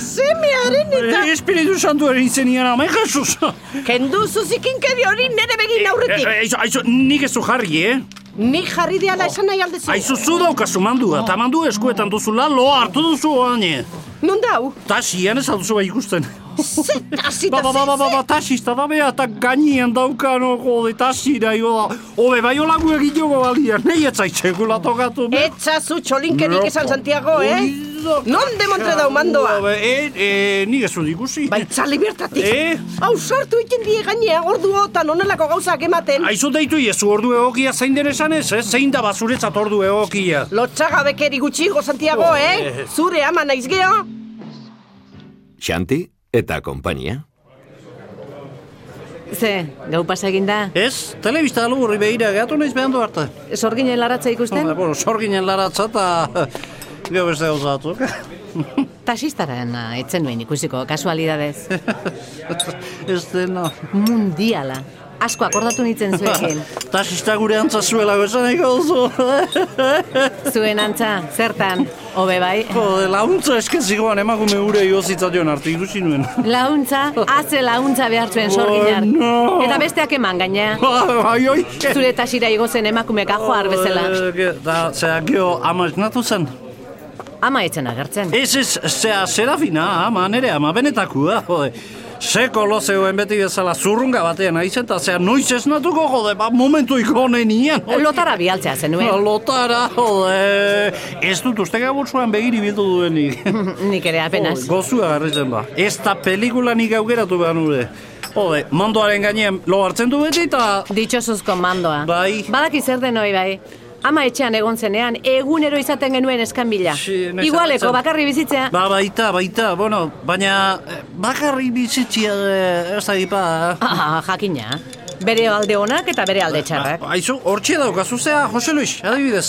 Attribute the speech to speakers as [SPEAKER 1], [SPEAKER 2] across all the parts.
[SPEAKER 1] semearen eta...
[SPEAKER 2] Espiritu santuaren izenian ama, Jesus!
[SPEAKER 1] Kendu zuzikinkeri hori nere begin aurretik.
[SPEAKER 2] Aizu, aizu, nik ez du jarri, eh?
[SPEAKER 1] Nik jarri diala esan nahi aldezu.
[SPEAKER 2] Oh. Aizu zu daukazu mandua, eta mandu eskuetan duzula lo hartu duzu oane.
[SPEAKER 1] Non dau?
[SPEAKER 2] Tasian ez alduzu bai ikusten.
[SPEAKER 1] Zeta,
[SPEAKER 2] Ba,
[SPEAKER 1] zita,
[SPEAKER 2] ba, ba, ba, ba, ba, tasista da bea, eta gainean daukan oh, jode tasira jo da. Obe, bai olagu egin jogo balia, nahi etzaitzegula tokatu. be.
[SPEAKER 1] Etxazu txolinkerik esan Santiago, eh? Non demontre dau mandoa? Bai,
[SPEAKER 2] Obe, e, e, nik ez dut ikusi.
[SPEAKER 1] Baitzali bertatik.
[SPEAKER 2] Eh?
[SPEAKER 1] Hau sartu egiten die gainea ordu hotan onelako gauzak ematen.
[SPEAKER 2] Aizu deitu iezu ordu egokia zein den esan ez, eh? zein da bazuretzat ordu egokia.
[SPEAKER 1] Lotxagabekeri gutxigo, Santiago,
[SPEAKER 2] Oh,
[SPEAKER 1] eh?
[SPEAKER 2] eh.
[SPEAKER 1] Zure ama naiz geho?
[SPEAKER 3] Xanti eta konpainia.
[SPEAKER 4] Ze, gau pasa egin da.
[SPEAKER 2] Ez, telebista lurri behira gatu naiz behan du harta.
[SPEAKER 4] Sorginen laratza ikusten,
[SPEAKER 2] Bueno, sorginen laratza eta gero beste gauza batzuk.
[SPEAKER 4] tasistaren etzen nuen ikusiko, kasualidadez.
[SPEAKER 2] ez dena.
[SPEAKER 4] Mundiala. Asko akordatu nintzen zuekin.
[SPEAKER 2] Tasista gure antza zuela bezan eko duzu.
[SPEAKER 4] Zuen antza, zertan, hobe bai.
[SPEAKER 2] Jode, launtza eskezigoan emakume gure jozitzaion arte ikusi nuen.
[SPEAKER 4] Launtza, haze launtza behartzen sorginak.
[SPEAKER 2] Bueno.
[SPEAKER 4] Eta besteak eman gaina.
[SPEAKER 2] Ai, oi.
[SPEAKER 4] Zure tasira igozen emakume kajoar bezala.
[SPEAKER 2] Da, zera, geho, ama esnatu zen.
[SPEAKER 4] Ama etzen agertzen.
[SPEAKER 2] Ez ez, zea, serafina, ama, nere, ama, benetakua, jode. Seko lozeoen beti bezala zurrunga batean aizen, eta zea, noiz esnatuko, jode, ba, momentu ikonen ian.
[SPEAKER 4] Lotara bialtzea
[SPEAKER 2] Oh.
[SPEAKER 4] zenuen.
[SPEAKER 2] Lotara, jode. Ez dut uste gabotsuan begiri bildu duenik.
[SPEAKER 4] Nik ere apenas.
[SPEAKER 2] Jode, Gozua garritzen da. Ez da pelikula nik aukeratu behar nure. Jode, mandoaren gainean lo hartzen du beti eta...
[SPEAKER 4] Ditxosuzko mandoa.
[SPEAKER 2] Bai.
[SPEAKER 4] Badaki zer den hoi bai. Ama etxean egon zenean, egunero izaten genuen eskanbila.
[SPEAKER 2] Si, noiz
[SPEAKER 4] Igualeko,
[SPEAKER 2] etortzen.
[SPEAKER 4] bakarri bizitzea.
[SPEAKER 2] Ba, baita, baita, bueno, baina eh, bakarri bizitzia eh, ez da gipa.
[SPEAKER 4] Ah, jakina. Bere alde onak eta bere
[SPEAKER 2] Ba-
[SPEAKER 4] alde txarrak.
[SPEAKER 2] Aizu, hortxe daukazu zea, Jose Luis, adibidez.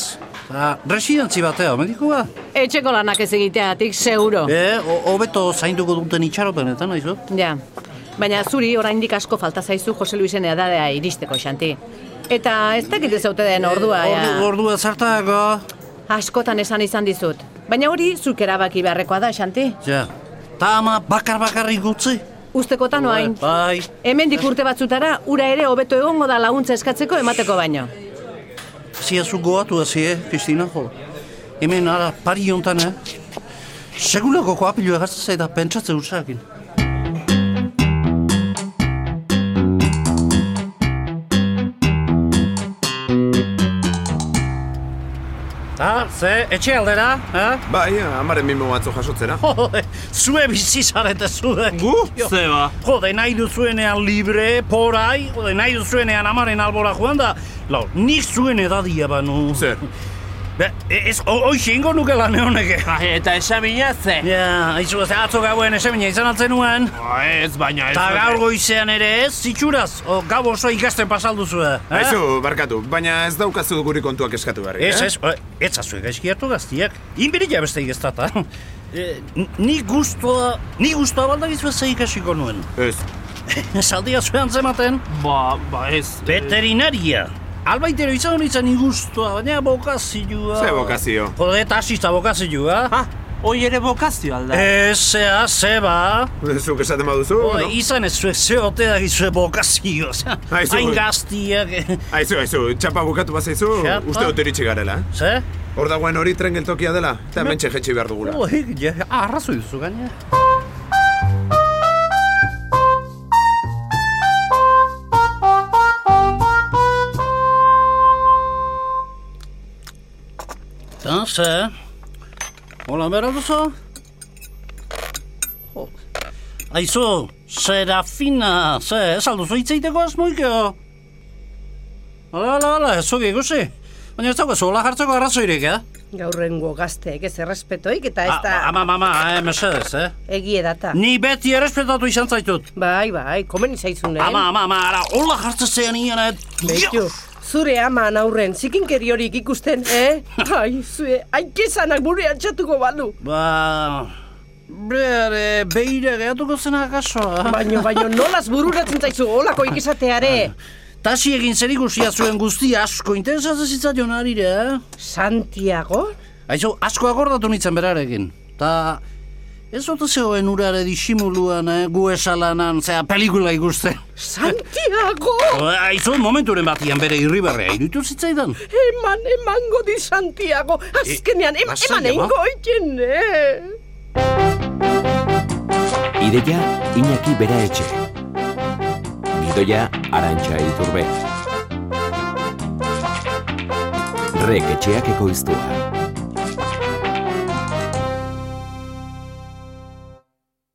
[SPEAKER 2] Ah, residentzi batea, mediko ba?
[SPEAKER 4] Etxeko lanak ez egiteatik, seguro.
[SPEAKER 2] Eh, o- hobeto zainduko duten itxaropenetan, aizu?
[SPEAKER 4] Ja. Baina zuri oraindik asko falta zaizu Jose Luisen edadea iristeko, Xanti. Eta ez dakit ez haute
[SPEAKER 2] Eh,
[SPEAKER 4] den ordua, ja.
[SPEAKER 2] Ordu, ordua zartako.
[SPEAKER 4] Askotan esan izan dizut. Baina hori zuk erabaki beharrekoa da, Xanti.
[SPEAKER 2] Ja, ta ama bakar bakarrik utzi.
[SPEAKER 4] Ustekotan oain.
[SPEAKER 2] Bai.
[SPEAKER 4] Hemendik urte batzutara, ura ere hobeto egongo da laguntza eskatzeko emateko baino.
[SPEAKER 2] Zia zu goatu hazi, eh, Kristina, jo. Hemen ara pari jontan, eh? Segulako koapilu egartzen zaita pentsatze utzakin. Ta, ze, etxe aldera, eh?
[SPEAKER 3] Bai, amaren mimo batzu jasotzera.
[SPEAKER 2] Jode, zue bizi zarete zuek.
[SPEAKER 5] Gu? Zeba.
[SPEAKER 2] Jode, nahi duzuenean libre, porai, jode, nahi duzuenean amaren albora joan da, lau, nik zuen edadia banu.
[SPEAKER 3] Zer?
[SPEAKER 2] Be, e, ez, o- hoxe ingo nuke lan honeke.
[SPEAKER 5] Eta esamina ze.
[SPEAKER 2] Ja, aizu ez, atzo gauen esemina izan atzen nuen.
[SPEAKER 5] Ba, Ez, baina ez.
[SPEAKER 2] Eta gaur goizean ere ez, itxuraz, o, gau oso ikasten pasalduzue. eh?
[SPEAKER 3] Aizu, barkatu, baina ez daukazu guri kontuak eskatu berri,
[SPEAKER 2] Ez, ez, eh, ez azue gaizki hartu gaztiak. Inbirila beste igeztata. Eh, n- Ni guztua, ni guztua baldagizu ez ikasiko nuen.
[SPEAKER 3] Ez,
[SPEAKER 2] Esaldia zuen zematen.
[SPEAKER 5] Ba, ba ez.
[SPEAKER 2] Veterinaria. Albaitero izan hori izan ingustua, baina bokazioa...
[SPEAKER 3] Ze bokazio?
[SPEAKER 2] Jode, eta asista bokazioa.
[SPEAKER 5] Ah, hoi ere bokazio alda.
[SPEAKER 2] Ez, ah, zea, zeba.
[SPEAKER 3] zuk esaten baduzu,
[SPEAKER 2] Jode,
[SPEAKER 3] no?
[SPEAKER 2] ba. izan ez zuek ze ote da gizue bokazio.
[SPEAKER 3] Aizu.
[SPEAKER 2] Hain gaztiak... eh,
[SPEAKER 3] Aizu, aizu, txapa bukatu bazaizu,
[SPEAKER 2] Txapa?
[SPEAKER 3] uste dut iritsi garela. eh?
[SPEAKER 2] Ze?
[SPEAKER 3] Hor dagoen hori tren geltokia dela, eta hemen txejetxi behar dugula.
[SPEAKER 2] Jode, ja, arrazoi duzu gaina. Eta, ze? Hola, bera duzu? Jo. Aizu, Serafina, ze, ez alduzu itzeiteko asmoikeo? Hala, hala, hala, ez zuge ikusi. Baina ez daukazu, hola jartzeko arrazoirik, eh?
[SPEAKER 1] Gaurrengo gazteek ez errespetoik eta ez
[SPEAKER 2] A-
[SPEAKER 1] da
[SPEAKER 2] Ah, Ama, ama, eh, mesedez, eh?
[SPEAKER 1] egiedata.
[SPEAKER 2] Ni beti errespetatu izan zaitut.
[SPEAKER 1] Bai, bai, komen izaizunen.
[SPEAKER 2] Ama, ama, ama, ara, hola jartzen zean ian, eh?
[SPEAKER 1] Beitu,
[SPEAKER 2] Jo!
[SPEAKER 1] zure ama aurren zikinkeri horik ikusten, eh? Ai, zue, aikesanak buru altxatuko balu.
[SPEAKER 2] Ba... Bere, beire gehatuko zena akaso, eh?
[SPEAKER 1] Baino, baino, nolaz bururatzen zaizu olako ikisateare.
[SPEAKER 2] Tasi egin zer ikusia zuen guztia asko interesatzen zitzaion arire, eh?
[SPEAKER 1] Santiago?
[SPEAKER 2] Aizu, asko akordatu nintzen berarekin. Ta Ez ote zegoen urare disimuluan, eh, gu esalanan, zera, pelikula ikusten.
[SPEAKER 1] Santiago!
[SPEAKER 2] Aizu, momenturen batian bere irribarrea irutu zitzaidan.
[SPEAKER 1] Eman, emango di Santiago! Azkenean, em,
[SPEAKER 2] lasai,
[SPEAKER 1] eman
[SPEAKER 2] ama.
[SPEAKER 1] egingo oiten, eh?
[SPEAKER 6] Ideia Iñaki Bera Etxe. Gidoia Arantxa Iturbe. Rek etxeak ekoiztua.